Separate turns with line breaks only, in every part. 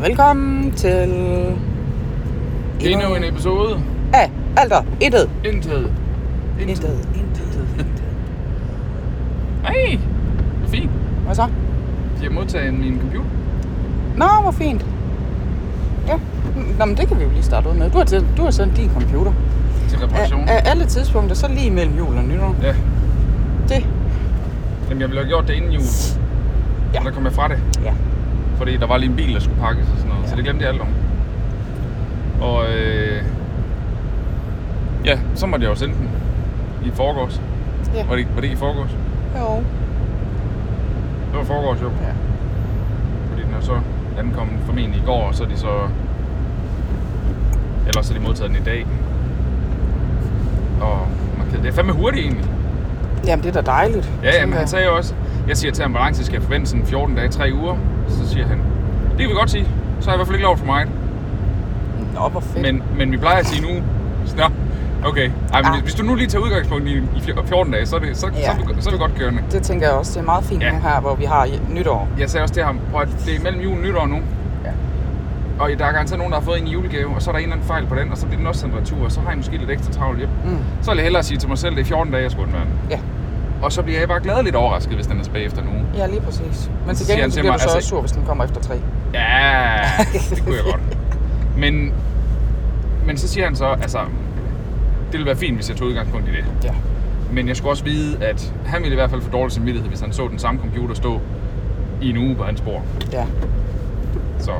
velkommen til...
Endnu en episode.
Af alt og intet.
Intet.
Intet, intet, intet.
Nej, det er fint.
Hvad så?
De har modtaget min computer.
Nå, hvor fint. Ja, Nå, men det kan vi jo lige starte ud med. Du har, til, du har sendt din computer.
Til
Af,
reparation.
af alle tidspunkter, så lige mellem jul og nytår.
Ja.
Det,
Jamen, jeg ville have gjort det inden jul.
Ja.
Ja. der kom jeg fra det.
ja.
Fordi der var lige en bil, der skulle pakkes og sådan noget.
Ja.
Ja. Så det glemte jeg alt om. Og øh, ja, så måtte jeg jo sende den i forgårs.
Ja.
Var det, var det i forgårs?
Jo.
Det var forgårs jo.
Ja.
Fordi den er så ankommet formentlig i går, og så er de så... Ellers har de modtaget den i dag. Og man kan, det er fandme hurtigt egentlig.
Jamen, det er da dejligt.
Ja,
tænker
men han
jeg.
sagde jo også, jeg siger til ham, hvor lang tid skal jeg forvente sådan 14 dage, 3 uger? Så siger han, det kan vi godt sige. Så har jeg i hvert fald ikke lov for mig.
Nå, hvor fedt.
Men, men vi plejer at sige nu, så, nå, okay. Ej, men
Ah.
hvis- hvis du nu lige tager udgangspunkt i, i fj- 14 dage, så er, det, så, ja. så, er
Ja.
vi, go- så er vi godt kørende.
Det tænker jeg også, det er meget fint
Ja.
nu her, hvor vi har nytår.
Jeg sagde også til ham, prøv at det er mellem jul og nytår nu.
Ja.
Og der er garanteret nogen, der har fået en i julegave, og så er der en eller anden fejl på den, og så bliver den også sendt retur, og så har jeg måske lidt ekstra travlt hjem.
Mm.
Så vil jeg hellere sige til mig selv, det er 14 dage, jeg skulle undvære den.
Ja.
Og så bliver jeg bare gladeligt overrasket, hvis den er tilbage efter en uge.
Ja, lige præcis. Men til
Siger han
gengæld så
til
bliver
mig,
du så
altså-
også sur, hvis den kommer efter tre.
Ja, det kunne jeg godt. Men, men så siger han så, altså, det ville være fint, hvis jeg tog udgangspunkt i det.
Ja.
Men jeg skulle også vide, at han ville i hvert fald få dårlig samvittighed, hvis han så den samme computer stå i en uge på hans bord.
Ja.
Så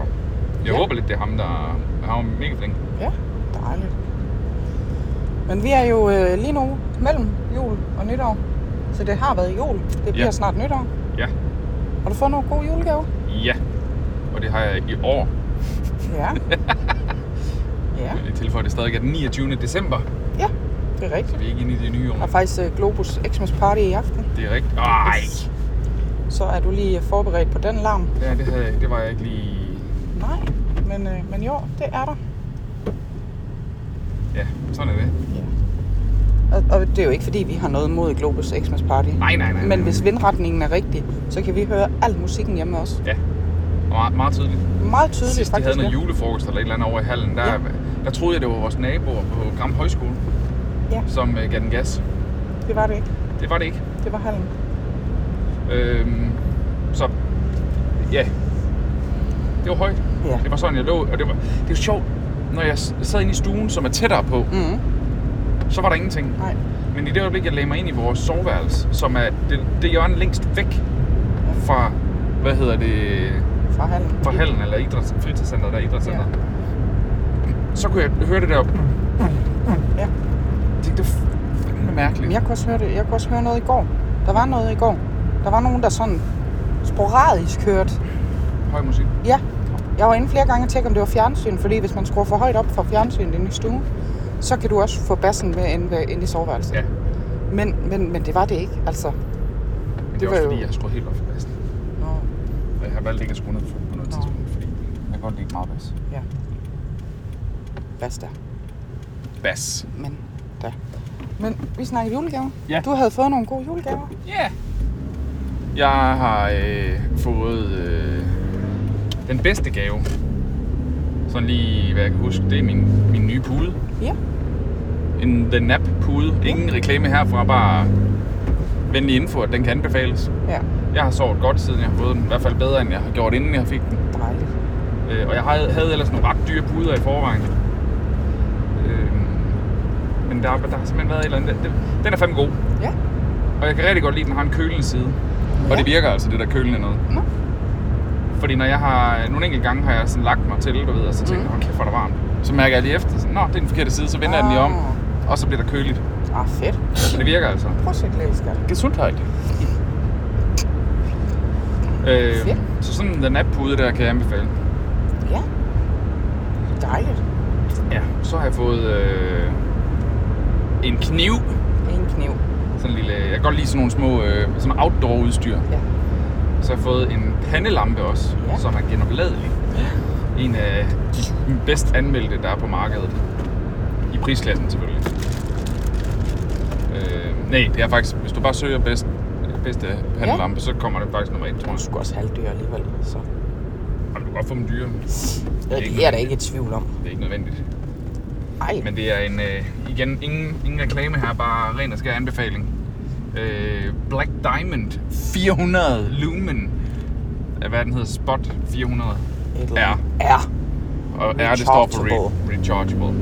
jeg
Ja.
håber lidt, det er ham, der han er jo mega flink.
Ja, dejligt. Men vi er jo øh, lige nu mellem jul og nytår. Så det har været jul. Det bliver ja. snart nytår.
Ja.
Har du fået nogle gode julegaver?
Ja. Og det har jeg i år.
Ja. ja,
Jeg tilføjer det stadig er den 29. december,
ja. Det er
så
rigtigt.
vi er ikke inde i det nye
Der
år.
er faktisk øh, Globus Xmas Party i aften.
Det er rigtigt. Ej!
Så er du lige øh, forberedt på den larm.
Ja, det, havde, jeg- det var jeg ikke lige...
Nej, men, øh, men jo, det er der.
Ja, sådan er det.
Og, og det er jo ikke fordi, vi har noget mod Globus Xmas Party.
Nej, nej, nej, nej.
Men hvis vindretningen er rigtig, så kan vi høre al musikken hjemme også.
Ja, og meget, meget tydeligt.
Meget tydeligt
Sidst de
faktisk.
havde noget
ja.
julefrokost eller et eller andet over i hallen, der,
Ja.
ja. der troede jeg, det var vores naboer på Gram Højskole,
Ja.
som uh, gav den gas.
Det var det ikke.
Det var det ikke.
Det var hallen.
Øhm, så ja, det var højt.
Ja.
Det var sådan, jeg lå. Og det var, det var sjovt, når jeg s- sad inde i stuen, som er tættere på,
Mm.
så var der ingenting.
Nej.
Men i det øjeblik, jeg lagde mig ind i vores soveværelse, som er det, det hjørne længst væk fra, hvad hedder det,
Fra hallen.
fra hallen eller idræts, fritidscenteret, der er idrætscenteret. Ja. Så kunne jeg høre det der. Jeg
Ja.
tænkte, det var fandme mærkeligt.
Men jeg kunne, også høre det. jeg kunne også høre noget i går. Der var noget i går. Der var nogen, der sådan sporadisk hørte.
Høj musik.
Ja. Jeg var inde flere gange og tjekke, om det var fjernsyn, fordi hvis man skruer for højt op for fjernsynet inde i stuen, så kan du også få bassen med ind, øh, ind i soveværelset.
Ja,
Men, men, men det var det ikke, altså.
men det,
Det
er også
var jo-
fordi, jeg har skruet helt op for bassen.
Nå,
Og jeg har valgt ikke at skrue ned for på noget
Nå.
tidspunkt, fordi jeg kan godt lide meget bas.
ja. Basta.
Bas.
Men da. Men vi snakker julegaver.
Ja.
Du havde fået nogle gode julegaver.
Ja. Yeah. Jeg har øh, fået øh, den bedste gave. Sådan lige, hvad jeg kan huske, det er min, min nye pude.
Ja.
En The Nap pude. Ingen reklame herfra, bare venlig info, at den kan anbefales.
Ja.
Jeg har sovet godt, siden jeg har fået den. I hvert fald bedre, end jeg har gjort, inden jeg fik den.
Dejligt.
Øh, og jeg havde, havde ellers nogle ret dyre puder i forvejen. Øh, men der, der har simpelthen været et eller andet. Den, den er fandme god.
Ja.
Og jeg kan rigtig godt lide, at den har en kølende side. Ja. Og det virker altså, det der kølende noget.
Nå.
Fordi når jeg har, nogle enkelte gange har jeg sådan lagt mig til, du ved, og så tænker jeg, mm. kæft, hvor er der varmt. Så mærker jeg lige efter, sådan, nå, det er den forkerte side, så vender jeg den lige om,
Ah.
og så bliver der køligt.
Ah, fedt.
Så det virker altså.
Prøv at se glædeskab.
Gesundheit. Øh,
Fedt.
så sådan den app-pude der kan jeg anbefale.
Ja. Dejligt.
Ja. Så har jeg fået øh, en kniv.
En kniv.
Sådan en lille, jeg kan godt lide sådan nogle små øh, sådan outdoor-udstyr.
Ja.
Så har jeg fået en pandelampe også,
Ja.
ja. som er genopladelig. En af de bedst anmeldte, der er på markedet. I prisklassen selvfølgelig. Øh, nej, det er faktisk, hvis du bare søger bedst, bedste pandelampe, ja. så kommer det faktisk nummer et, tror jeg.
Du skulle også halvdyr alligevel, så.
Jamen, du godt få dem dyre.
Det er,
ikke
det er der ikke i tvivl om.
Det er ikke nødvendigt.
Ej,
Men det er en, øh, igen, ingen, ingen reklame her, bare ren og skær anbefaling. Øh, Black Diamond 400 Lumen. Af, Hvad den hedder? Spot 400.
et eller
Ja.
andet. Ja.
Og R, det står for re-
Rechargeable.
rechargeable.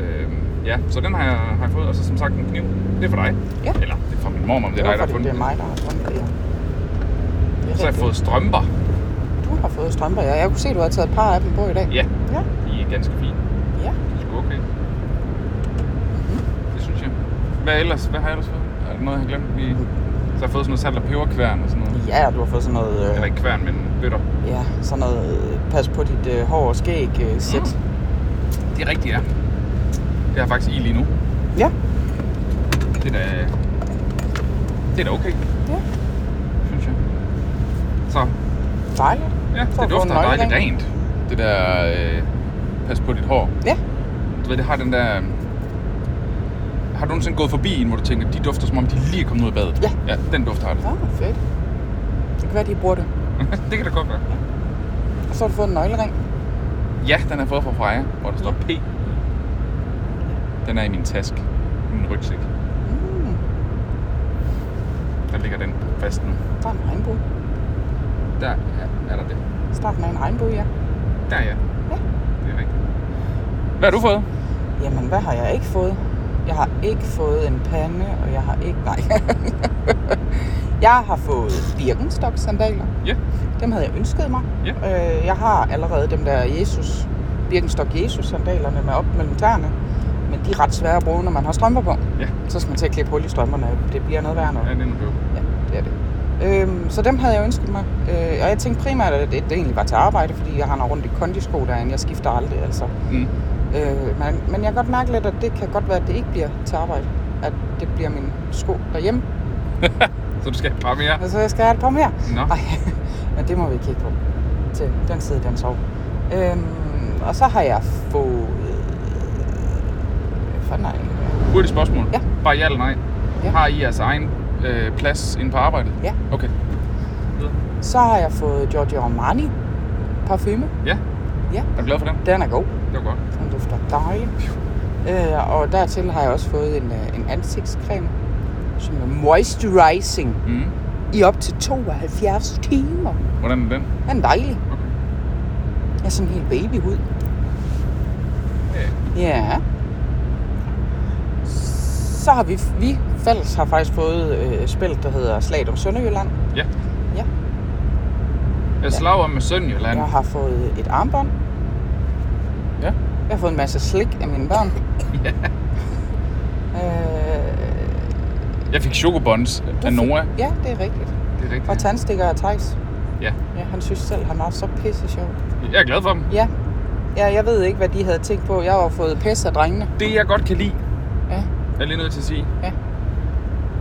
Øh, ja, så den har jeg, har jeg fået. Og så som sagt en kniv. Det er for dig.
Ja.
Eller det er fra min mormor, men det
Det
er
er,
dig, der
fordi,
har fundet
det
den.
er mig, der har fundet det. Ja. Det er
Så har jeg
rigtigt.
fået strømper.
Du har fået strømper, ja. Jeg kunne se, at du har taget et par af dem på i dag.
Ja,
Ja.
de er ganske fine.
ja.
Det er sgu okay.
Mhm.
Det synes jeg. Hvad ellers? Hvad har jeg ellers fået? Er der noget, jeg har glemt? Vi... Så har jeg fået sådan noget salt og peberkværn og sådan noget.
Ja, og du har fået sådan noget,
Eller
øh,
ikke kværn, men bøtter.
ja, sådan noget øh, pas på dit øh, hår og skæg øh, sæt. Mm.
Det er rigtigt, ja. Det har jeg faktisk i lige nu.
Ja.
Det er da... Det er da okay,
ja,
synes jeg. Så,
dejligt.
ja,
Så har
det
du fået
dufter
en
dejligt
nøglering.
rent. Det der... Øh, pas på dit hår.
Ja,
Du ved, det har den der... Har du nogensinde gået forbi en, hvor du tænker, de dufter, som om de lige er kommet ud af badet?
Ja.
Ja, den duft har det.
ja, fedt. Det kan være, de bruger det.
det kan da godt være.
Og så har du fået en nøglering.
Ja, den har jeg fået fra Freja, hvor der står P. Den er i min task. I min rygsæk.
Mm,
Der ligger den fast nu.
der er en regnbue.
Der er, er der det.
Starten af en regnbue, ja.
Der er jeg.
Ja.
Det er rigtigt. Hvad har du fået?
Jamen, hvad har jeg ikke fået? Jeg har ikke fået en pande, og jeg har ikke... Nej. jeg har fået Birkenstock-sandaler.
Ja.
Dem havde jeg ønsket mig.
Ja.
Øh, jeg har allerede dem der Jesus, Birkenstock Jesus-sandalerne med op mellem tæerne. Men de er ret svære at bruge, når man har strømper på.
Ja.
Så skal man til at klippe hul i strømperne. Det bliver noget værre noget.
Ja, det er nu blev.
Ja, det er det. Øhm, så dem havde jeg ønsket mig. Øh, og jeg tænkte primært, at det, det egentlig var til arbejde, fordi jeg har rundt i kondisko derinde. Jeg skifter aldrig, altså.
Mm.
Øh, men, men jeg kan godt mærke lidt, at det kan godt være, at det ikke bliver til arbejde. At det bliver min sko derhjemme.
Så du skal bare mere?
Altså, jeg skal have et par mere.
Nå.
Ej, men det må vi kigge på. Til den side, den sov. Øhm, og så har jeg fået... Hvad fanden har jeg egentlig været?
Hurtigt spørgsmål.
Ja.
Bare ja eller nej.
Ja.
Har I jeres egen øh, plads inde på arbejdet?
Ja.
Okay. Videre.
Så har jeg fået Giorgio Armani parfume.
Ja.
Ja.
Er du glad for den?
Den er god.
Det var godt.
Den dufter dejligt. Øh, og dertil har jeg også fået en, øh, en ansigtscreme, som er moisturizing
Mm.
i op til 72 timer.
Hvordan er den?
Den er dejlig.
Okay.
Jeg er sådan helt babyhud.
Ja.
Ja. Så har vi, vi fælles har faktisk fået øh, spillet, der hedder Slaget om Sønderjylland.
Ja.
Ja.
Jeg slag om med Sønderjylland.
Jeg har fået et armbånd.
Ja.
Jeg har fået en masse slik af mine børn.
ja.
Øh,
Jeg fik chokobons af Nora.
ja, det er rigtigt.
Det er rigtigt.
Og tandstikker af Thijs.
Ja.
Ja, han synes selv, han var så pisse sjov.
Jeg er glad for dem.
Ja. ja, jeg ved ikke, hvad de havde tænkt på. Jeg har jo fået pis af drengene.
Det jeg godt kan lide,
Ja.
er jeg lige nødt til at sige,
Ja.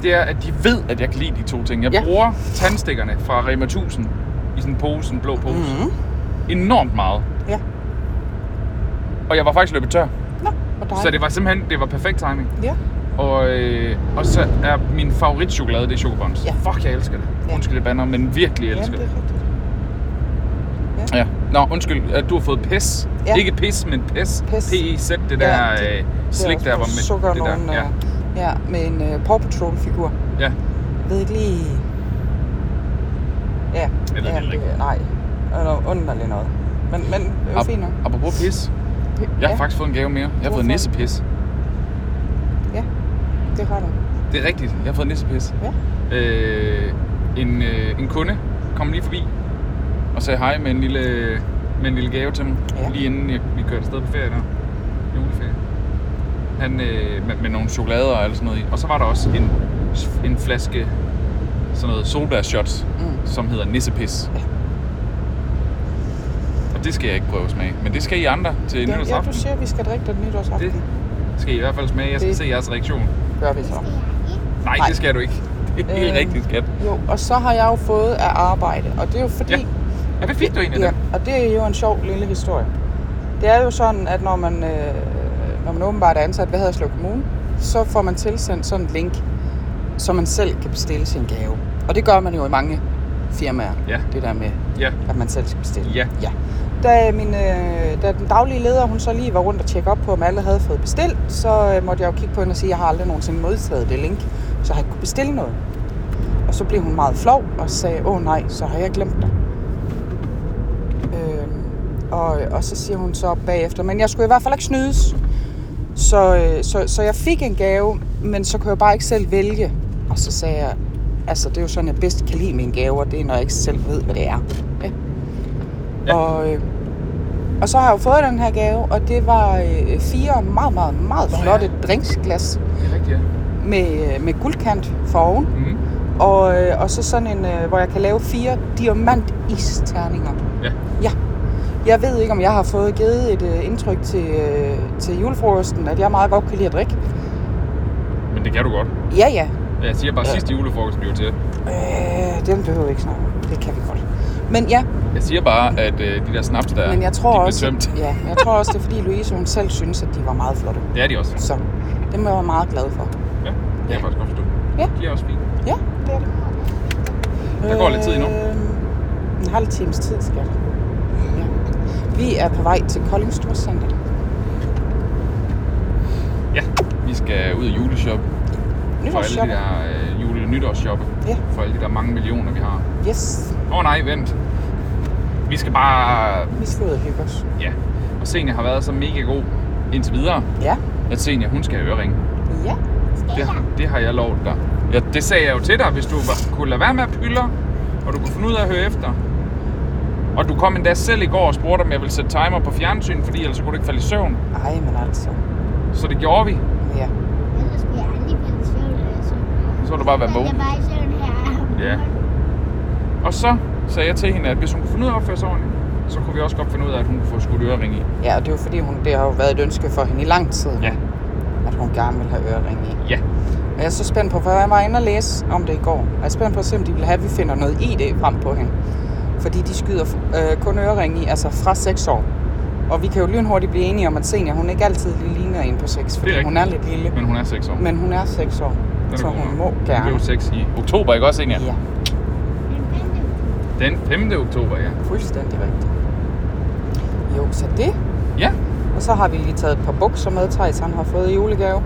det er, at de ved, at jeg kan lide de to ting. Jeg
Ja.
bruger tandstikkerne fra Rema 1000 i sådan en pose, en blå pose,
Mhm.
enormt meget.
Ja.
Og jeg var faktisk løbet tør,
Nå, hvor dejligt.
så det var simpelthen det var perfekt timing.
Ja.
Og, øh, og så er min favoritchokolade, det er chokobons.
Ja.
Fuck, jeg elsker det.
Ja.
Undskyld, jeg bander, men virkelig
ja,
elsker
det er rigtigt.
Ja. Nå, undskyld, at du har fået pis.
Ja.
Ikke pis, men pis.
Pis.
P-I-Z, det der
Ja, det-
ja, slik, der var med.
Sukker
det
nogen, øh,
der. Ja.
ja, med en uh, Paw Patrol-figur.
ja.
Jeg ved ikke lige... Ja,
ved det
ja
heller ikke.
nej. Og noget underligt noget. Men, men det var
Ap-
fint nok.
Apropos pis. Jeg har
ja,
faktisk fået en gave mere. Jeg har fået
Hvorfor?
nissepis.
det Mm. har du.
Det er rigtigt. Jeg har fået nissepis.
Ja.
Øh, en, øh, en kunde kom lige forbi og sagde hej med en lille, med en lille gave til mig.
Ja.
Lige inden jeg, vi kørte afsted på ferie der. Juleferie. Han, øh, med, med, nogle chokolader og alt sådan noget i. Og så var der også en, en flaske sådan noget solbærshots,
Mm.
som hedder nissepis.
Ja.
Og det skal jeg ikke prøve at smage. Men det skal I andre til
Ja, ja,
nytårsaften.
du siger, at vi skal drikke den nytårsaften.
Det skal I i hvert fald smage. Jeg skal
Det-
se jeres reaktion.
gør vi så.
Nej,
Nej.
det skal du ikke. Det er helt
Øh.
rigtigt, skat.
Jo, og så har jeg jo fået af arbejde, og det er jo fordi...
Ja. Ja, hvad fik du egentlig
Ja,
af dem?
og det er jo en sjov lille historie. Det er jo sådan, at når man, øh, når man åbenbart er ansat ved Haderslev Kommune, så får man tilsendt sådan en link, så man selv kan bestille sin gave. Og det gør man jo i mange firmaer,
Ja.
det der med
Ja.
at man selv skal bestille.
Ja.
ja. Da, min, øh, da den daglige leder hun så lige var rundt og tjekke op på, om alle havde fået bestilt, så øh, måtte jeg jo kigge på hende og sige, at jeg har aldrig nogensinde modtaget det link, så har jeg ikke kunne bestille noget. Og så blev hun meget flov og sagde, åh nej, så har jeg glemt dig. Øh, og, og så siger hun så bagefter, men jeg skulle i hvert fald ikke snydes. Så, øh, så, så jeg fik en gave, men så kunne jeg bare ikke selv vælge. Og så sagde jeg, altså det er jo sådan, jeg bedst kan lide mine gaver, det er når jeg ikke selv ved, hvad det er. Ja.
Ja.
Ja. Og, øh, og så har jeg jo fået den her gave, og det var øh, fire meget, meget, meget
Nå ja.
flotte drinksglas
Det er rigtigt, ja.
med, øh, med guldkant foroven.
Mm.
Og, øh, og så sådan en, øh, hvor jeg kan lave fire diamantisterninger.
Ja.
Ja. Jeg ved ikke, om jeg har fået givet et øh, indtryk til, øh, til julefrokosten, at jeg meget godt kan lide at drikke.
Men det kan du godt.
Ja, ja.
Jeg siger bare,
Ja.
sidste julefrokost blev til.
Øh, den behøver vi ikke snakke om. Det kan vi godt. Men ja,
Jeg siger bare, at øh, de der snaps der,
men jeg tror
de blev
også,
tømt.
ja, jeg tror også, det er fordi Louise hun selv synes, at de var meget flotte.
Det er de også.
Så det må jeg være meget glad for.
Ja, det kan jeg faktisk godt forstå.
Ja.
De er også fine.
Ja, det er det.
Der går lidt tid endnu.
Øh, en halv times tid, skat. Ja. Vi er på vej til Kolding Storcenter.
Ja, vi skal ud og juleshop. For alle de
Nytårsshopper.
der øh, jule-nytårsshop.
Ja.
For alle de der mange millioner, vi har.
Yes,
Åh oh, nej, vent. Vi skal bare...
vi skal ud og hygge os.
Ja. Og Senia har været så mega god indtil videre,
Ja,
at Senia, hun skal have ørering.
ja.
Det, det har jeg lovet dig. Ja, det sagde jeg jo til dig, hvis du var, kunne lade være med at pyller, og du kunne finde ud af at høre efter. Og du kom endda selv i går og spurgte, om jeg ville sætte timer på fjernsyn, fordi ellers så kunne du ikke falde i søvn.
Ej, men altså.
Så det gjorde vi.
Ja.
Ellers bliver jeg aldrig faldet i søvn. Altså.
Så har du bare været vågen.
Jeg er bare i søvn her.
Ja. Og så sagde jeg til hende, at hvis hun kunne finde ud af at opføre sig ordentligt, så kunne vi også godt finde ud af, at hun kunne få skudt ørering i.
Ja, og det er jo fordi, hun, det har jo været et ønske for hende i lang tid,
Ja.
at hun gerne vil have ørering i.
Ja.
Og jeg er så spændt på, for jeg var inde og læse om det i går. Jeg er spændt på at se, om de vil have, at vi finder noget ID frem på hende. Fordi de skyder øh, kun ørering i, altså fra 6 år. Og vi kan jo lynhurtigt blive enige om, at senior, hun ikke altid lige ligner en på 6, fordi hun er lidt lille.
Men hun er 6 år.
Men hun er 6 år,
Den er
så
god nok.
hun må
Hun blev
gerne.
6 i oktober, ikke også, Inja?
Ja,
Men fandt du?
Den 5. oktober, ja.
fuldstændig rigtigt. Jo, så det.
Ja,
Og så har vi lige taget et par bukser med, Thijs han har fået i julegave,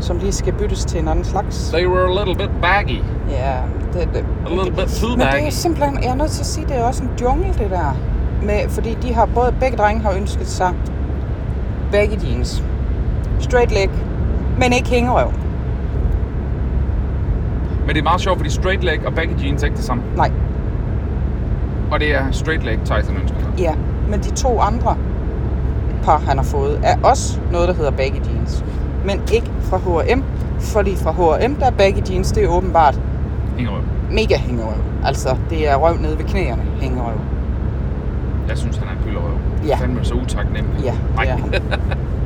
som lige skal byttes til en anden slags.
they were a little bit baggy.
Ja, det, det.
A little bit too
Men det er
baggy.
simpelthen, jeg er nødt til at sige, det er også en jungle, det der. Med, fordi de har, både begge drenge har ønsket sig baggy jeans. Straight leg, men ikke hængerøv.
Men det er meget sjovt, fordi straight leg og baggy jeans er ikke det samme.
Nej,
Og det er straight leg, Tyson ønsker sig.
ja. Men de to andre par, han har fået, er også noget, der hedder baggy jeans. Men ikke fra H&M, fordi fra H&M, der er baggy jeans, det er åbenbart
Ingerøv.
mega hængerøv. Altså, det er røv nede ved knæerne, hængerøv.
Jeg synes, han er en pyllerøv.
Ja.
Han er så utaknemmelig.
Ja,
Nej,
det er han.
det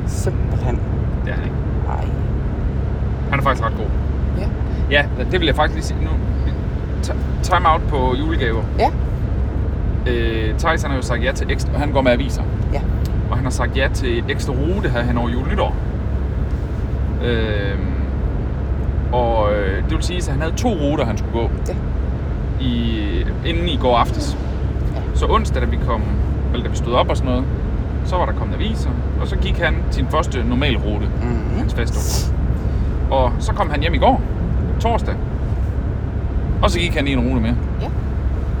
Simpelthen.
er han ikke.
Ej.
Han er faktisk ret god.
Ja.
Ja, det vil jeg faktisk lige sige nu. Ti- Time out på julegaver.
Ja,
Øh, Thijs han har jo sagt ja til ekstra, han går med aviser.
ja.
Og han har sagt ja til et ekstra rute her hen over jul nytår. Øh, og øh, det vil sige, at han havde to ruter, han skulle gå
Ja.
i, inden i går aftes.
Ja.
Så onsdag, da vi kom, eller da vi stod op og sådan noget, så var der kommet aviser, og så gik han sin første normal rute,
Mhm.
hans festrute. Og så kom han hjem i går, torsdag, og så gik han i en rute mere.
Ja.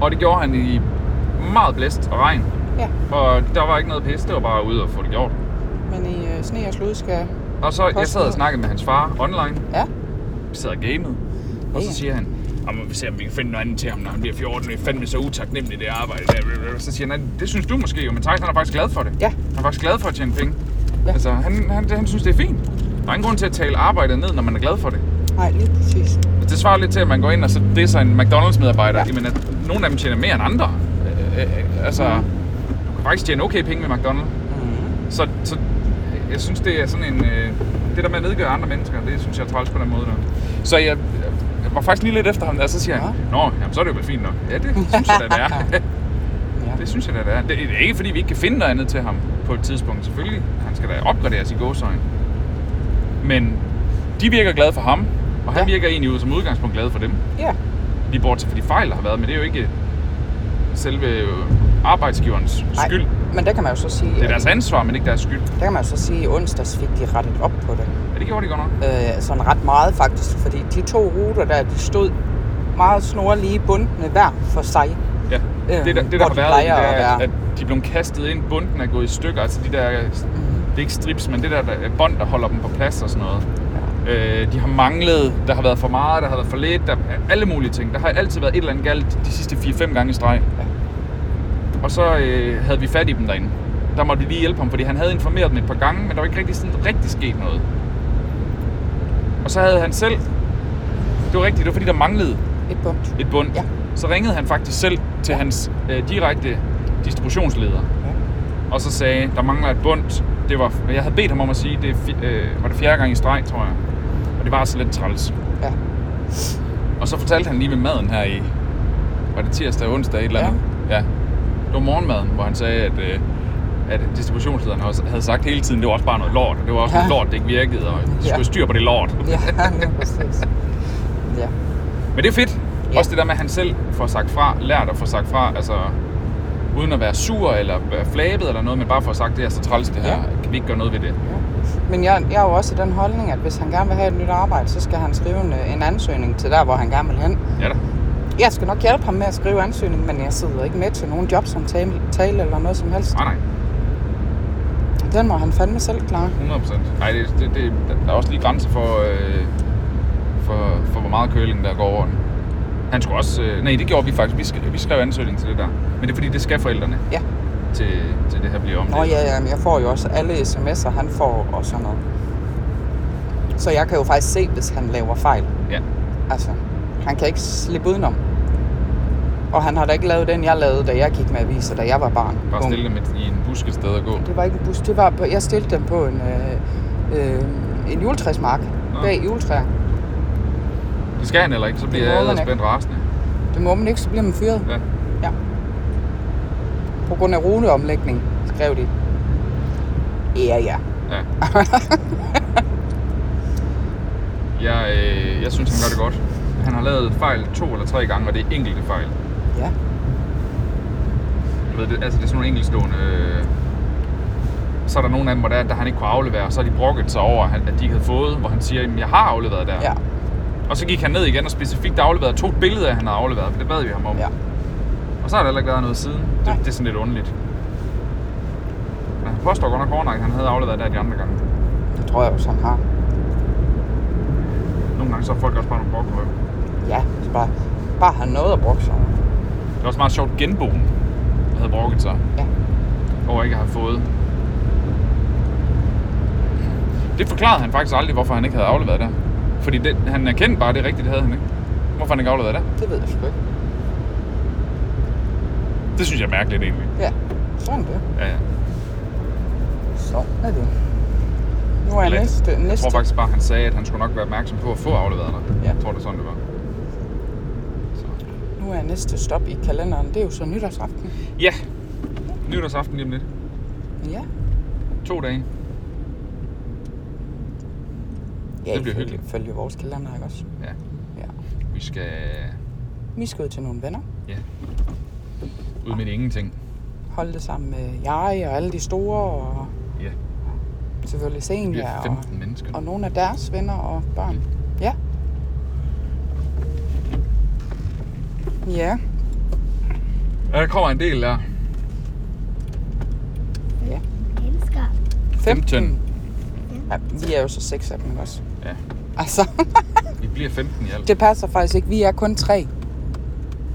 Og det gjorde han i meget blæst og regn,
Ja,
og der var ikke noget pisse, det var bare ude og få det gjort.
men i øh, sne og slud skal...
Og så, jeg
Kost
sad og
noget.
snakkede med hans far online,
Ja,
vi sad og gamede, og
Ja.
så siger han, "Ah, må vi se, om vi kan finde noget andet til ham, når han bliver 14, det er fandme så utaknemmeligt det arbejde. der." Så siger han, "Nej, det synes du måske jo, men Thijs han er faktisk glad for det.
Ja.
Han er faktisk glad for at tjene penge.
Ja.
Altså, han, han, han synes, det er fint. Der er ingen grund til at tale arbejdet ned, når man er glad for det.
nej, lige præcis.
Det svarer lidt til, at man går ind og så disser en McDonald's-medarbejder. Ja. Jamen, at nogle af dem tjener mere end andre. Øh, øh, altså, du kan faktisk tjene okay penge med McDonald's.
Mm.
Så, så jeg synes, det er sådan en... Øh, det der med at nedgøre andre mennesker, det synes jeg er træls på den måde der. Så jeg, jeg var faktisk lige lidt efter ham, og så siger han, Nå, jamen, så er det jo vel fint nok. Ja, det synes jeg da, det er.
Ja.
det synes jeg da, det er. Det er ikke, fordi vi ikke kan finde noget andet til ham på et tidspunkt. Selvfølgelig, han skal da opgraderes i gåsøjne. Men de virker glade for ham, og han ja.
Ja.
virker egentlig ud som udgangspunkt glad for dem.
ja.
Lige bort til for de fejl, der har været, men det er jo ikke... selve øh, arbejdsgiverens
Nej,
skyld.
men der kan man jo så sige,
Det er deres ansvar, men ikke deres skyld.
der kan man jo så sige, at i onsdags fik de rettet op på det.
Ja, det gjorde de godt nok.
Øh, sådan ret meget faktisk, fordi de to ruter der, de stod meget snorlige bundne hver for sig.
Ja.
Øh,
Det, der, det,
hvor
der
de
har været, i det
plejer
er,
at
at,
være.
at de er blevet kastet ind, bunden er gået i stykker. Altså de der, det er ikke strips, men det der, der er bånd, der holder dem på plads og sådan noget. Øh, de har manglet, der har været for meget, der har været for lidt, der er alle mulige ting. Der har altid været et eller andet galt de sidste 4-5 gange i streg.
Ja.
Og så øh, havde vi fat i dem derinde. Der måtte vi lige hjælpe ham, fordi han havde informeret dem et par gange, men der var ikke rigtig, sådan, rigtig sket noget. Og så havde han selv, det var rigtigt, det var fordi der manglede
Et punkt.
et bund,
Ja.
ja. så ringede han faktisk selv til hans øh, direkte distributionsleder
Ja.
og så sagde, der mangler et bund. Det var, jeg havde bedt ham om at sige, det er fi, øh, var det fjerde gang i streg, tror jeg. Og det var altså lidt træls.
Ja.
Og så fortalte han lige med maden her i, var det tirsdag, onsdag, et eller andet? Ja. ja. Det var morgenmaden, hvor han sagde, at, øh, at distributionslederen også havde sagt hele tiden, det var også bare noget lort, og det var også
Ja.
ja. noget lort, det ikke virkede, og de
Ja.
skulle have styr på det lort.
Ja, lige præcis. Ja.
Men det er fedt.
Ja.
Ja. Også det der med, at han selv får sagt fra, lært at få sagt fra, altså uden at være sur eller være flabet eller noget, men bare får sagt, det er så træls det her,
Ja.
ja. kan vi ikke gøre noget ved det?
Men jeg, jeg er jo også i den holdning, at hvis han gerne vil have et nyt arbejde, så skal han skrive en, øh, en ansøgning til der, hvor han gerne vil hen.
Ja da.
Jeg skal nok hjælpe ham med at skrive ansøgning, men jeg sidder ikke med til nogen jobsamtale tale eller noget som helst.
Ah, Nej, nej.
Den må han fandme selv klare.
100 procent. Nej, det, det, det, der er også lige grænser for, øh, for, for hvor meget køling der går over den. Han skulle også... Øh, nej, det gjorde vi faktisk. Vi, skrev, vi skrev ansøgning til det der. Men det er fordi, det skal forældrene
Ja.
til, til det her bliver omdelt.
Nå ja, ja, men jeg får jo også alle sms'er, han får og sådan noget. Så jeg kan jo faktisk se, hvis han laver fejl.
ja.
Altså, han kan ikke slippe udenom. Og han har da ikke lavet den, jeg lavede, da jeg gik med aviser, da jeg var barn.
Bare
Ung.
stille dem et- i en busket sted og gå.
Det var ikke en bus, det var på, jeg stillede dem på en, øh, øh, en juletræsmark bag juletræer.
Det skal han heller ikke, så bliver
må
jeg
man
allerede
ikke.
spændt rasende.
Det må man ikke, så bliver man fyret.
Ja.
ja. På grund af runeomlægning, skrev de. Ja, ja.
Ja. jeg, øh, jeg synes, han gør det godt. Han har lavet fejl to eller tre gange, og det er enkelte fejl.
Ja.
Du ved, det, altså, det er sådan nogle enkeltstående... Øh, så er der nogle af dem, hvor der, der han ikke kunne aflevere, og så har de brokket sig over, han- at de ikke havde fået, hvor han siger, at jeg har afleveret der.
Ja.
Og så gik han ned igen og specifikt afleverede to billeder, han havde afleveret, for det bad vi ham om.
Ja.
Og så har der heller ikke været noget siden. Det,
Nej.
det er sådan lidt underligt. Men han påstår godt nok hårdnakket, at han havde afleveret der de andre gange.
Det tror jeg også, han har.
Nogle gange så er folk også bare nogle brokrøv.
Ja, så bare, bare have noget at bruge sig over.
Det var også meget sjovt genboen, der havde brokket sig.
Ja.
Over ikke at have fået. Det forklarede han faktisk aldrig, hvorfor han ikke havde afleveret der. Fordi det, han erkendte bare, at det er rigtigt, det havde han ikke. Hvorfor han ikke afleverede der?
Det ved jeg sgu ikke.
Det synes jeg er mærkeligt egentlig.
Ja, sådan er det.
Ja, ja.
Sådan er det. Nu er
Eller-
næste,
Jeg
næste.
tror faktisk bare, han sagde, at han skulle nok være opmærksom på at få afleveret der.
Ja.
Jeg tror, det er sådan, det var. Så.
Nu er næste stop i kalenderen, det er jo så nytårsaften.
Ja. Nytårsaften lige om lidt.
Ja.
To dage.
ja
Det bliver
ifølge-
hyggeligt.
Følge vores kalender, ikke også?
Ja.
Ja.
Vi skal
Vi skal ud til nogle venner.
ud med ingenting.
Holde det sammen med jeg og alle de store, og
Ja.
selvfølgelig
Vi er Mm.
Senja og,
15 mennesker.
og nogle af deres venner og børn. Ja. Ja,
Ja, der kommer en del der.
Mennesker.
15.
Ja.
Mm. Ja, vi er jo så seks af dem ikke også.
Ja.
Altså,
Vi bliver 15 i alt.
det passer faktisk ikke. Vi er kun tre.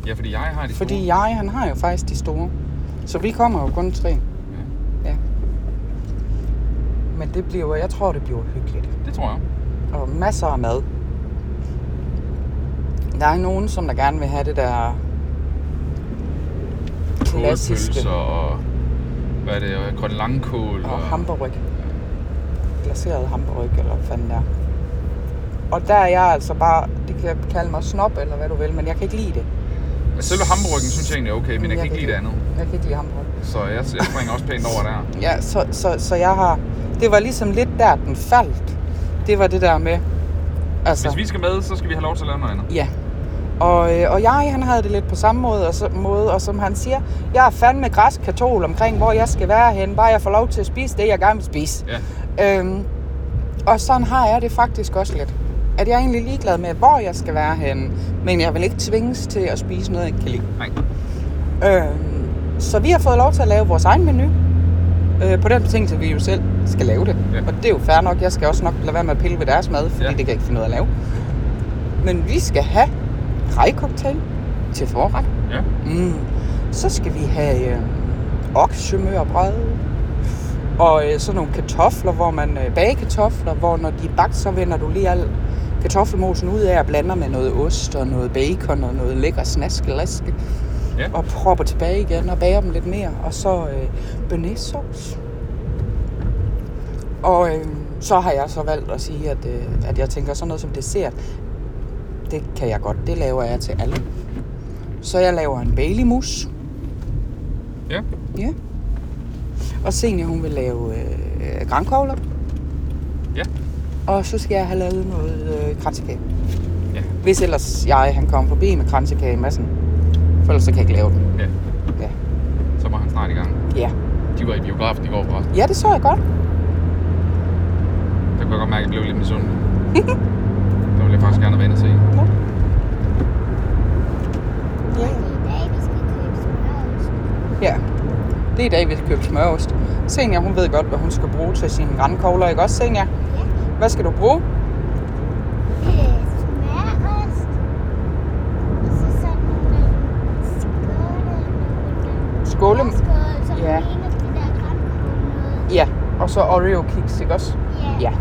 Ja, fordi jeg har de
Fordi
store.
jeg, han har jo faktisk de store. Så vi kommer jo kun tre. Ja. Men det bliver, jeg tror, det bliver hyggeligt.
Det tror jeg.
Og masser af mad. Der er nogen, som der gerne vil have det der klassiske
Kålpølser og... Hvad er det? Og grøn langkål.
og hamburg. Glaseret hamburg, eller hvad fanden der. Og der er jeg altså bare, det kan kalde mig snob, eller hvad du vil, men jeg kan ikke lide det.
Ja, Selve hamburgen synes jeg egentlig er okay, men jeg kan ikke lide det andet.
Jeg kan ikke lide hamburg.
Så jeg, jeg springer også pænt over der.
Ja, så, så, så jeg har... Det var ligesom lidt der, den faldt. Det var det der med... Altså,
Hvis vi skal med, så skal vi have lov til at lave noget andet.
ja. Og, øh, og jeg, han havde det lidt på samme måde og, så, måde, og som han siger, jeg er fandme græsk katol omkring, hvor jeg skal være henne, bare jeg får lov til at spise det, jeg gerne vil spise.
Ja.
Øhm, og sådan har jeg det faktisk også lidt. At jeg er egentlig ligeglad med, hvor jeg skal være henne, men jeg vil ikke tvinges til at spise noget, jeg ikke kan lide.
Nej.
Øhm, så vi har fået lov til at lave vores egen menu. Øh, på den betingelse, at vi jo selv skal lave det.
Ja.
Og det er jo fair nok. Jeg skal også nok lade være med at pille ved deres mad, fordi
Ja.
ja. det kan jeg ikke finde ud af at lave. Men vi skal have rejcocktail til forret.
Ja.
Mm. Så skal vi have øh, oksemørbrød. Og øh, sådan nogle kartofler, hvor man øh, bager kartofler, hvor når de er bagt, så vender du lige al kartoffelmosen ud af og blander med noget ost og noget bacon og noget lækker snaskelaske
Ja.
og propper tilbage igen og bager dem lidt mere. Og så øh, bearnaisesauce. Og øh, så har jeg så valgt at sige, at, øh, at jeg tænker sådan noget som dessert, det kan jeg godt. Det laver jeg til alle. Så jeg laver en Bailey-mus.
Ja.
Ja. Og Senior, hun vil lave øh, grankogler.
Ja.
Og så skal jeg have lavet noget øh, kransekage.
Ja.
Hvis ellers jeg, han kommer forbi med kransekage i massen. For ellers så kan jeg ikke lave den.
Så var han snart i gang.
Ja.
De var i biografen i går, forresten.
Ja, det så jeg godt.
Der kunne jeg godt mærke, at jeg blev lidt misundelig. der ville jeg faktisk gerne have været inde og se.
Ja.
Det er
Ja. Det er i
i dag, vi skal købe smørost.
dag, vi skal købe smørost. Senior, hun ved godt, hvad hun skal bruge til sine grankogler, ikke også, Senior?
Ja.
Hvad skal du bruge?
Øh, smørost. Og så sådan nogle øh, skåle.
Skåle?
Skåle, som
Ja.
ja. ligner det der grønkål noget.
Ja. Og så Oreo-kiks, ikke også? Ja.
Og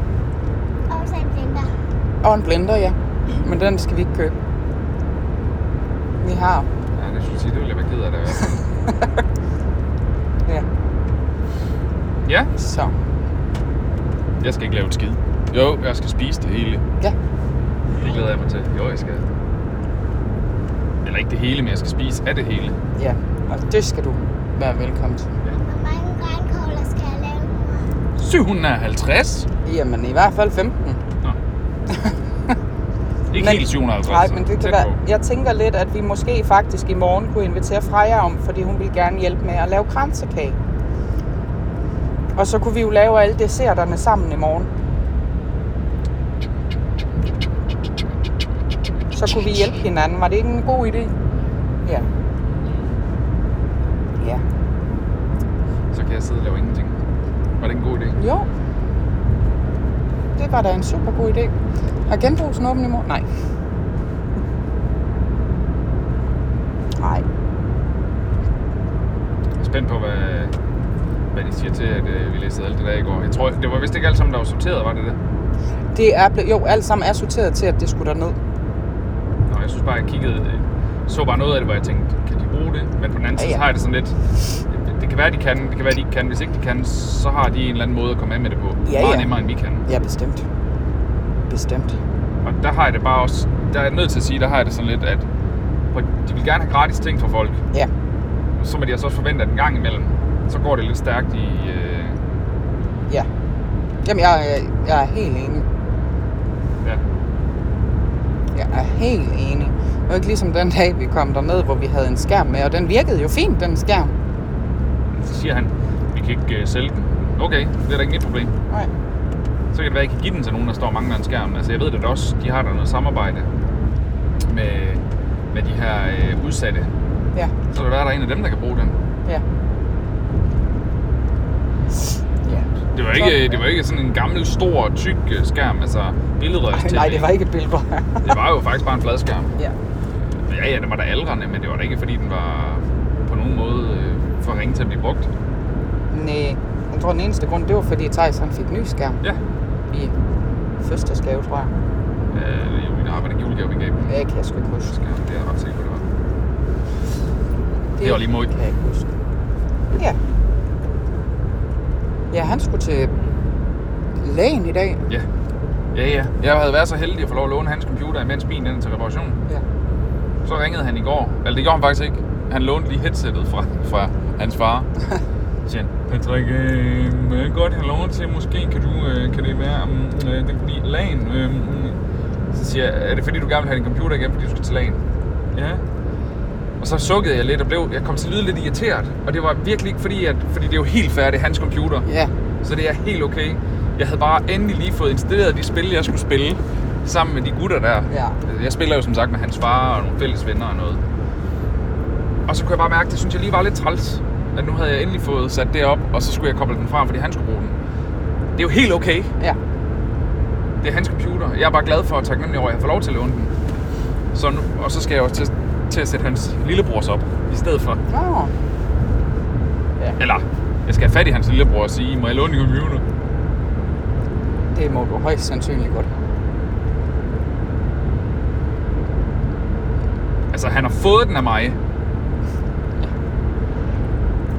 så en blender.
Og en blender, ja. Men den skal vi ikke købe. Vi har.
Ja, det skulle jeg sige, det ville jeg være ked af det.
Ja.
Ja,
Så.
jeg skal ikke lave et skid. Jo, jeg skal spise det hele.
Ja.
Det glæder jeg mig til. Jo, jeg skal. Eller ikke det hele, men jeg skal spise af det hele.
Ja. Og det skal du være velkommen til.
Hvor mange grønkåler skal jeg lave nu?
750?
Jamen, i hvert fald 15.
Ikke
Men-
helt 750.
Nej,
så
men det kan
tæt
være,
på.
jeg tænker lidt, at vi måske faktisk i morgen kunne invitere Freja om, fordi hun ville gerne hjælpe med at lave kransekage. Og så kunne vi jo lave alle desserterne sammen i morgen. Så kunne vi hjælpe hinanden. Var det ikke en god idé? Ja. Ja.
Så kan jeg sidde og lave ingenting. Var det en god idé?
Jo. Det var da en super god idé. Har genbrugsen åben i morgen? Nej. Nej.
Jeg er spændt på, hvad, hvad de siger til, at øh, vi læste alt det der i går. Jeg tror, det var vist ikke alt sammen, der var sorteret, var det det?
Det er ble- jo, alt sammen er sorteret til, at det skulle derned.
Nå, jeg synes bare, jeg kiggede, øh, så bare noget af det, hvor jeg tænkte, kan de bruge det? Men på den anden side,
Ja,
så
ja.
har jeg det sådan lidt, øh, det kan være, de kan, det kan være, de ikke kan. Hvis ikke de kan, så har de en eller anden måde at komme af med det på.
Ja,
Meget
ja.
nemmere, end vi kan.
Ja, bestemt. Bestemt.
Og der har jeg det bare også, der er jeg nødt til at sige, der har jeg det sådan lidt, at prøv, de vil gerne have gratis ting fra folk.
Ja.
Og så må de altså også forvente, at en gang imellem, så går det lidt stærkt i... Øh,
Ja. Jamen, jeg, er- jeg er helt enig.
ja.
Jeg er helt enig. Det var ikke ligesom den dag, vi kom derned, hvor vi havde en skærm med, og den virkede jo fint, den skærm.
Så siger han, vi kan ikke øh, sælge den. Okay, det er da ikke mit problem.
Nej.
Så kan det være, at I kan give den til nogen, der står og mangler en skærm. Altså, jeg ved det da også. De har der noget samarbejde med, med de her øh, udsatte.
Ja.
Så kan det være, at der er en af dem, der kan bruge den.
Ja. Ja.
Det var ikke, øh, det var ikke sådan en gammel, stor, tyk øh, skærm. Altså, billedrørs
Ej, nej, det var ikke et billede.
det var jo faktisk bare en fladskærm.
ja.
Ja, ja, det var da aldrende, men det var da ikke, fordi den var på nogen måde øh, for ringe til at blive brugt.
Nej. Jeg tror, den eneste grund, det var, fordi Thijs han fik ny skærm
Ja,
i fødselsdagsgave, tror jeg.
øh, det har været en julegave, vi gav dem.
Ja, kan jeg sgu ikke huske.
Skærm, Det er jeg ret sikker på, det var. Det var lige mod.
Kan jeg ikke huske. Ja. Ja, han skulle til lægen i dag.
Ja. Ja, ja. Jeg havde været så heldig at få lov at låne hans computer, imens min den er til reparation.
Ja.
Så ringede han i går. Eller det gjorde han faktisk ikke. Han lånte lige headsettet fra, fra hans far. Så siger han, Patrick, øh, jeg godt, jeg låner til. Måske kan, du, øh, kan det være, um, øh, det kan blive lagen. Øh, mm." så siger jeg, er det fordi, du gerne vil have din computer igen, fordi du skal til lagen? Ja. Og så sukkede jeg lidt og blev, jeg kom til at lyde lidt irriteret. Og det var virkelig ikke fordi, at, fordi det er jo helt færdigt hans computer.
Ja.
Så det er helt okay. Jeg havde bare endelig lige fået installeret de spil, jeg skulle spille sammen med de gutter der.
Ja.
Jeg spiller jo som sagt med hans far og nogle fælles venner og noget. Og så kunne jeg bare mærke, at det synes jeg lige var lidt træls. At nu havde jeg endelig fået sat det op, og så skulle jeg koble den fra, fordi han skulle bruge den. Det er jo helt okay.
Ja.
Det er hans computer. Jeg er bare glad for at tage nemlig over, at jeg får lov til at låne den. Så nu, og så skal jeg også til, til at sætte hans lillebrors op i stedet for.
Nå.
Eller, jeg skal have fat i hans lillebror og sige, må jeg låne din computer?
Det må du højst sandsynligt godt.
Altså, han har fået den af mig.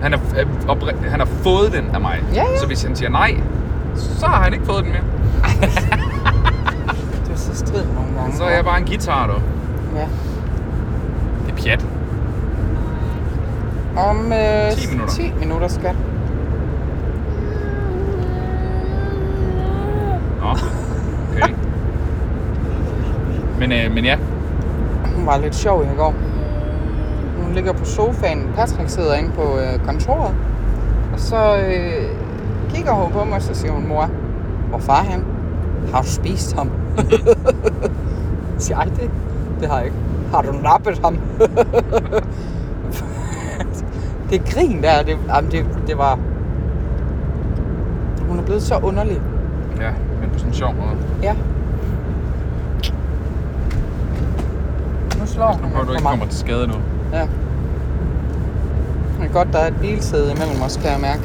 Han har, øh, opri- han har fået den af mig.
Ja, ja.
Så hvis han siger nej, så har han ikke fået den mere.
Det er så strid nogle gange.
Så er jeg bare en guitar, dog.
Ja.
Det er pjat.
Om øh,
10 minutter.
10 minutter, skat. Mm.
Nå, okay. men, øh, men ja,
Hun var lidt sjov i går. Hun ligger på sofaen. Patrick sidder inde på øh, kontoret. Og så øh, kigger hun på mig, og så siger hun, mor, hvor far er han? Har du spist ham? siger jeg det? Det har jeg ikke. Har du nappet ham? det grin der, det, jamen det, det var... Hun er blevet så underlig.
ja, men på sådan en sjov måde.
Ja. Nu slår
Nu
hun
prøver
mig
du
for
ikke
meget.
kommer til skade nu.
Ja. Det er godt, der er et hvilesæde imellem os, kan jeg mærke.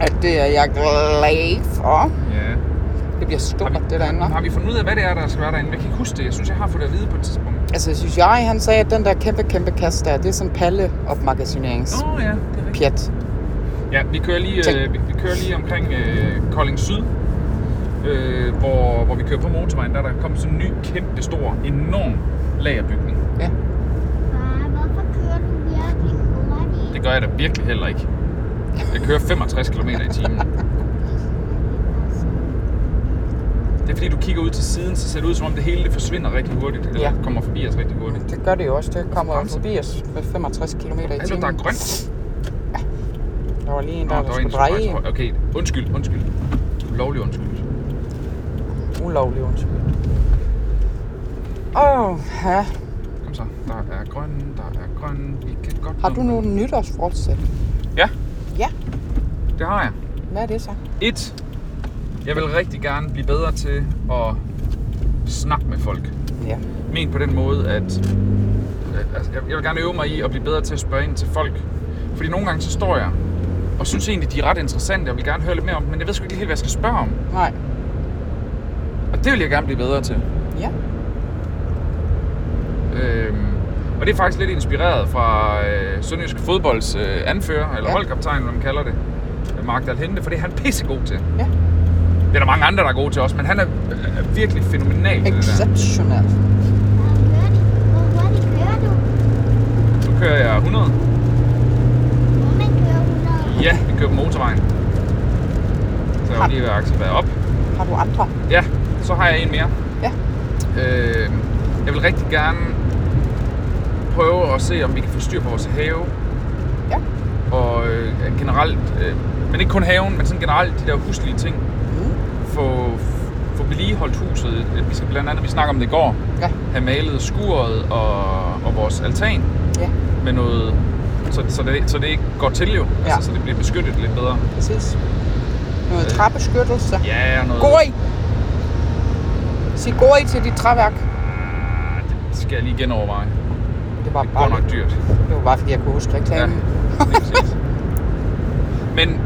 At det er jeg glad for.
Ja.
Det bliver
Har
stort,
vi,
det derinde.
har, har
hva'?
vi fundet ud af, hvad det er, der skal være derinde? Jeg kan ikke huske det. Jeg synes, jeg har fået det at vide på et tidspunkt.
Altså, jeg synes jeg, han sagde, at den der kæmpe, kæmpe kast der, det er sådan palle-opmagasinerings-pjat.
Nå oh, ja, det er rigtigt. Ja, vi kører lige, øh, vi, vi kører lige omkring øh, Kolding Syd, øh, hvor, hvor vi kører på motorvejen. Der er der kommet sådan en ny, kæmpe stor, enorm lagerbygning.
Ja.
Far, hvorfor kører du virkelig hurtigt?
Det gør jeg da virkelig heller ikke. Jeg kører 65 km i timen. Det er fordi, du kigger ud til siden, så ser det ud som om det hele det forsvinder rigtig hurtigt. Eller
Ja.
kommer forbi os rigtig hurtigt.
Det gør det jo også. Det kommer jo
Bremser.
forbi os med 65 km i
Altså,
timen.
der er grønt.
Der var lige en,
Nå,
der,
der
der
er en,
skulle
der røg til
dreje.
højre. Okay, undskyld, undskyld. Ulovlig undskyld.
Ulovlig undskyld. Åh, oh, ja.
Kom så. Der er grøn, der er grøn. Vi kan godt
Har du
nå-
nogle nytårsfortsæt?
Ja.
Ja.
Det har jeg.
Hvad er det så?
Et, jeg vil rigtig gerne blive bedre til at snakke med folk.
Ja.
Men på den måde, at at- altså, jeg jeg vil gerne øve mig i at blive bedre til at spørge ind til folk. Fordi nogle gange så står jeg og synes egentlig, de er ret interessante, og vil gerne høre lidt mere om dem, men jeg ved sgu ikke helt, hvad jeg skal spørge om.
Nej.
Og det vil jeg gerne blive bedre til.
Ja.
Øhm, og det er faktisk lidt inspireret fra øh, Sønderjysk Fodbolds øh, anfører, eller
Ja.
ja. holdkaptajn, hvad man kalder det, øh, Mark Dalhente, for det er han pissegod til.
Ja.
Det er der mange andre, der er gode til også, men han er øh, er virkelig fænomenal. til Det der.
Exceptionelt.
Hvor hurtigt kører du?
Nu kører jeg 100.
Må man køre 100?
Ja, vi kører på motorvejen. Så jeg har lige ved aksen været op.
Har du andre?
Ja, så har jeg en mere.
Ja.
Øh, jeg vil rigtig gerne prøve at se, om vi kan få styr på vores have.
Ja.
Og øh, generelt, øh, men ikke kun haven, men sådan generelt de der huslige ting.
Mm.
Få, få vedligeholdt huset. Øh, Vi skal blandt andet, vi snakker om det i går,
Ja.
have malet skuret og, og vores altan
Ja,
med noget, så, så, det, så det ikke går til jo.
Ja.
Altså, så det bliver beskyttet lidt bedre.
præcis. Noget
Øh.
træbeskyttelse.
Ja, og noget...
Gori! Sig gori til dit træværk.
Ah, Det skal jeg lige genoverveje.
Det var
Det går
bare,
nok dyrt.
det var bare fordi jeg kunne huske reklamen.
lige præcis. Men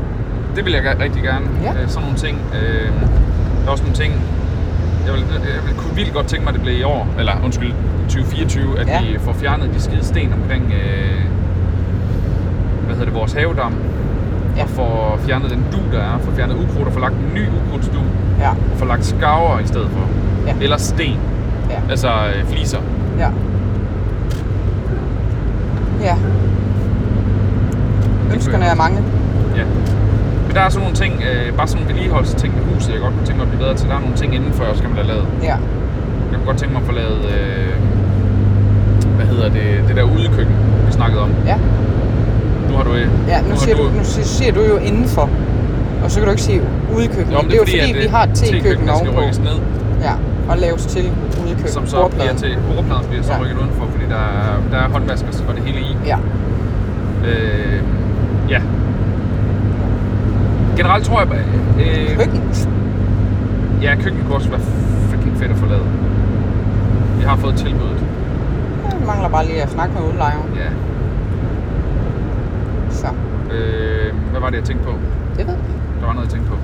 det vil jeg gerne- rigtig gerne.
Ja.
Øh, sådan nogle ting. Øh, der er også nogle ting, jeg vil, jeg vil kunne vildt godt tænke mig, at det blev i år, eller undskyld, 2024, at
Ja.
ja. vi får fjernet de skide sten omkring, øh, hvad hedder det, vores havedam.
Ja.
Ja. Og får fjernet den du, der er, får fjernet ukrudt og får lagt en ny ukrudtsdu,
Ja,
og får lagt skaver i stedet for.
Ja.
Eller sten,
ja,
altså øh, fliser.
ja. Ja. Ønskerne er mange.
Ja. Men der er sådan nogle ting, øh, bare sådan nogle vedligeholdsting med huset, jeg godt kunne tænke mig at blive bedre til. Der er nogle ting indenfor, jeg også skal have lavet.
Ja,
Jeg kunne godt tænke mig at få lavet øh, hedder det, det der udekøkken, vi snakkede om.
Ja,
Nu har du... øh,
ja nu,
har
siger du, nu siger, siger du jo indenfor. Og så kan du ikke sige udekøkken.
Jo, men
det, er jo fordi,
at,
vi
øh,
har et tekøkken
tekøkkenet skal
ovenpå.
rykkes ned,
Ja, og laves til udekøkken.
som så
bordpladen.
bliver til bordpladen, bliver så
Ja.
rykket udenfor, fordi der er, der er håndvaskers og det hele i.
Ja,
Øh, ja. Generelt tror jeg... Øh,
køkken.
ja, køkken kunne også være freaking fedt at forlade. Vi har fået tilbuddet.
Jeg mangler bare lige at snakke med udlejeren.
Ja.
Så,
Øh, hvad var det, jeg tænkte på?
det ved jeg.
Der var noget, jeg tænkte på.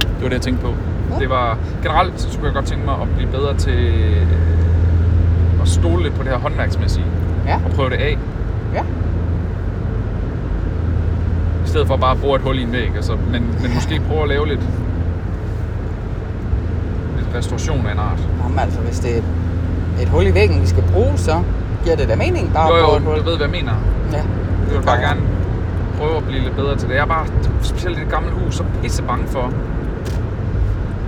Det var det, jeg tænkte på.
Ja.
Det var generelt, så skulle jeg godt tænke mig at blive bedre til øh, at stole lidt på det her håndværksmæssige.
Ja,
Og prøve det af,
ja.
i stedet for bare at bruge et hul i en væg. Altså, men, men måske prøve at lave lidt, lidt restauration af en art.
Jamen altså, hvis det er et hul i væggen, vi skal bruge, så giver det da mening bare
Jo,
at bruge
jo,
Ah, et
du
hul.
ved, hvad jeg mener.
Ja.
Jeg vil bare gerne prøve at blive lidt bedre til det. Jeg er bare, specielt i det gamle hus, så pisse bange for,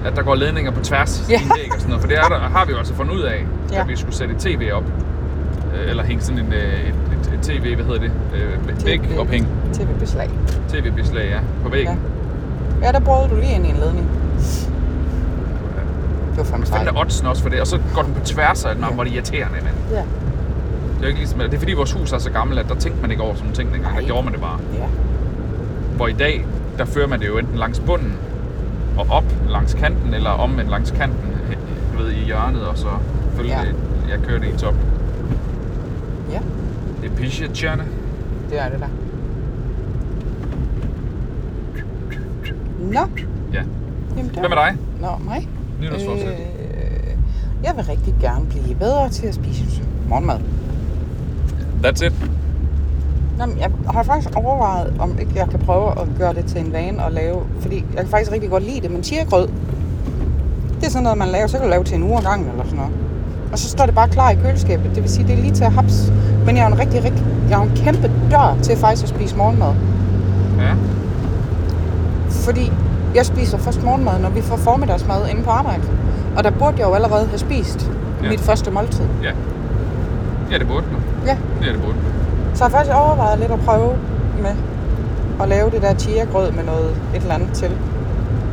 at der går ledninger på tværs i
Ja.
yeah. væg og sådan noget. For det er der, har vi jo altså fundet ud af, ja.
Ja.
at vi skulle sætte et tv op. Øh, Eller hænge sådan en, øh, et, et, et tv, hvad hedder det? Øh, væg ophæng.
TV-beslag.
TV-beslag, ja. På
Ja.
væggen.
ja, der brød du lige ind i en ledning. Det var fandme
Ja. Fandt
sejt.
der oddsen også for det. Og så går den på tværs af, man,
Ja.
hvor det er irriterende, mand.
Ja.
Det er, jo ikke ligesom, det er fordi, vores hus er så gammelt, at der tænkte man ikke over sådan nogle ting dengang. Der
Nej.
gjorde man det bare.
ja.
Hvor i dag, der fører man det jo enten langs bunden og op langs kanten, eller omvendt langs kanten, øh, du ved, i hjørnet, og så følge
Ja.
ja. det, jeg kører det i top.
Ja,
Det er pisjetjerne.
det er det der. Nå,
Ja.
jamen der.
Hvad med dig?
Nå, mig?
Nytårsforsæt. Øh.
Øh, jeg vil rigtig gerne blive bedre til at spise morgenmad.
That's it.
Nå, men jeg har faktisk overvejet, om ikke jeg kan prøve at gøre det til en vane at lave, fordi jeg kan faktisk rigtig godt lide det, men chiagrød, det er sådan noget, man laver, så kan du lave til en uge ad gangen eller sådan noget. Og så står det bare klar i køleskabet, det vil sige, det er lige til at haps. Men jeg er jo en rigtig, rigtig, jeg er jo en kæmpe dør til faktisk at spise morgenmad.
Ja.
Fordi jeg spiser først morgenmad, når vi får formiddagsmad inde på arbejde. Og der burde jeg jo allerede have spist
Ja.
ja. mit første måltid.
Ja. Ja, det burde den.
Ja,
Ja, det burde den.
så jeg har faktisk overvejet lidt at prøve med at lave det der chia-grød med noget et eller andet til.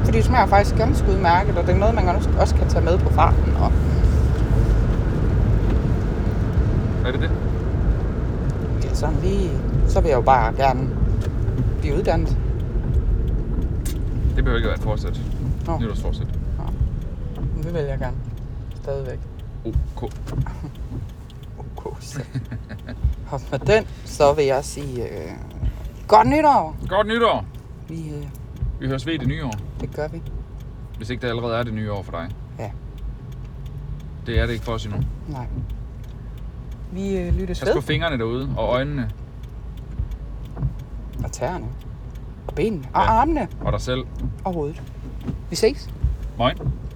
Fordi det smager faktisk ganske udmærket, og det er noget, man også- også kan tage med på farten. Og
Er det det?
det er sådan lige, så vil jeg jo bare gerne blive uddannet.
Det behøver ikke at være et forsæt.
Nå.
Nytårsforsæt.
Men det vil jeg gerne. Stadigvæk.
OK.
Okay. så. Og med den, så vil jeg sige øh, godt nytår.
Godt nytår.
Vi, øh,
Vi høres ved i det nye år.
det gør vi.
Hvis ikke det allerede er det nye år for dig.
Ja.
Det er det ikke for os endnu.
Nej. Vi øh, lyttes
Pas på
ved.
fingrene derude og øjnene
Og tæerne. Og benene. Og
Ja.
armene.
og dig selv.
Og hovedet. Vi ses.
Moin.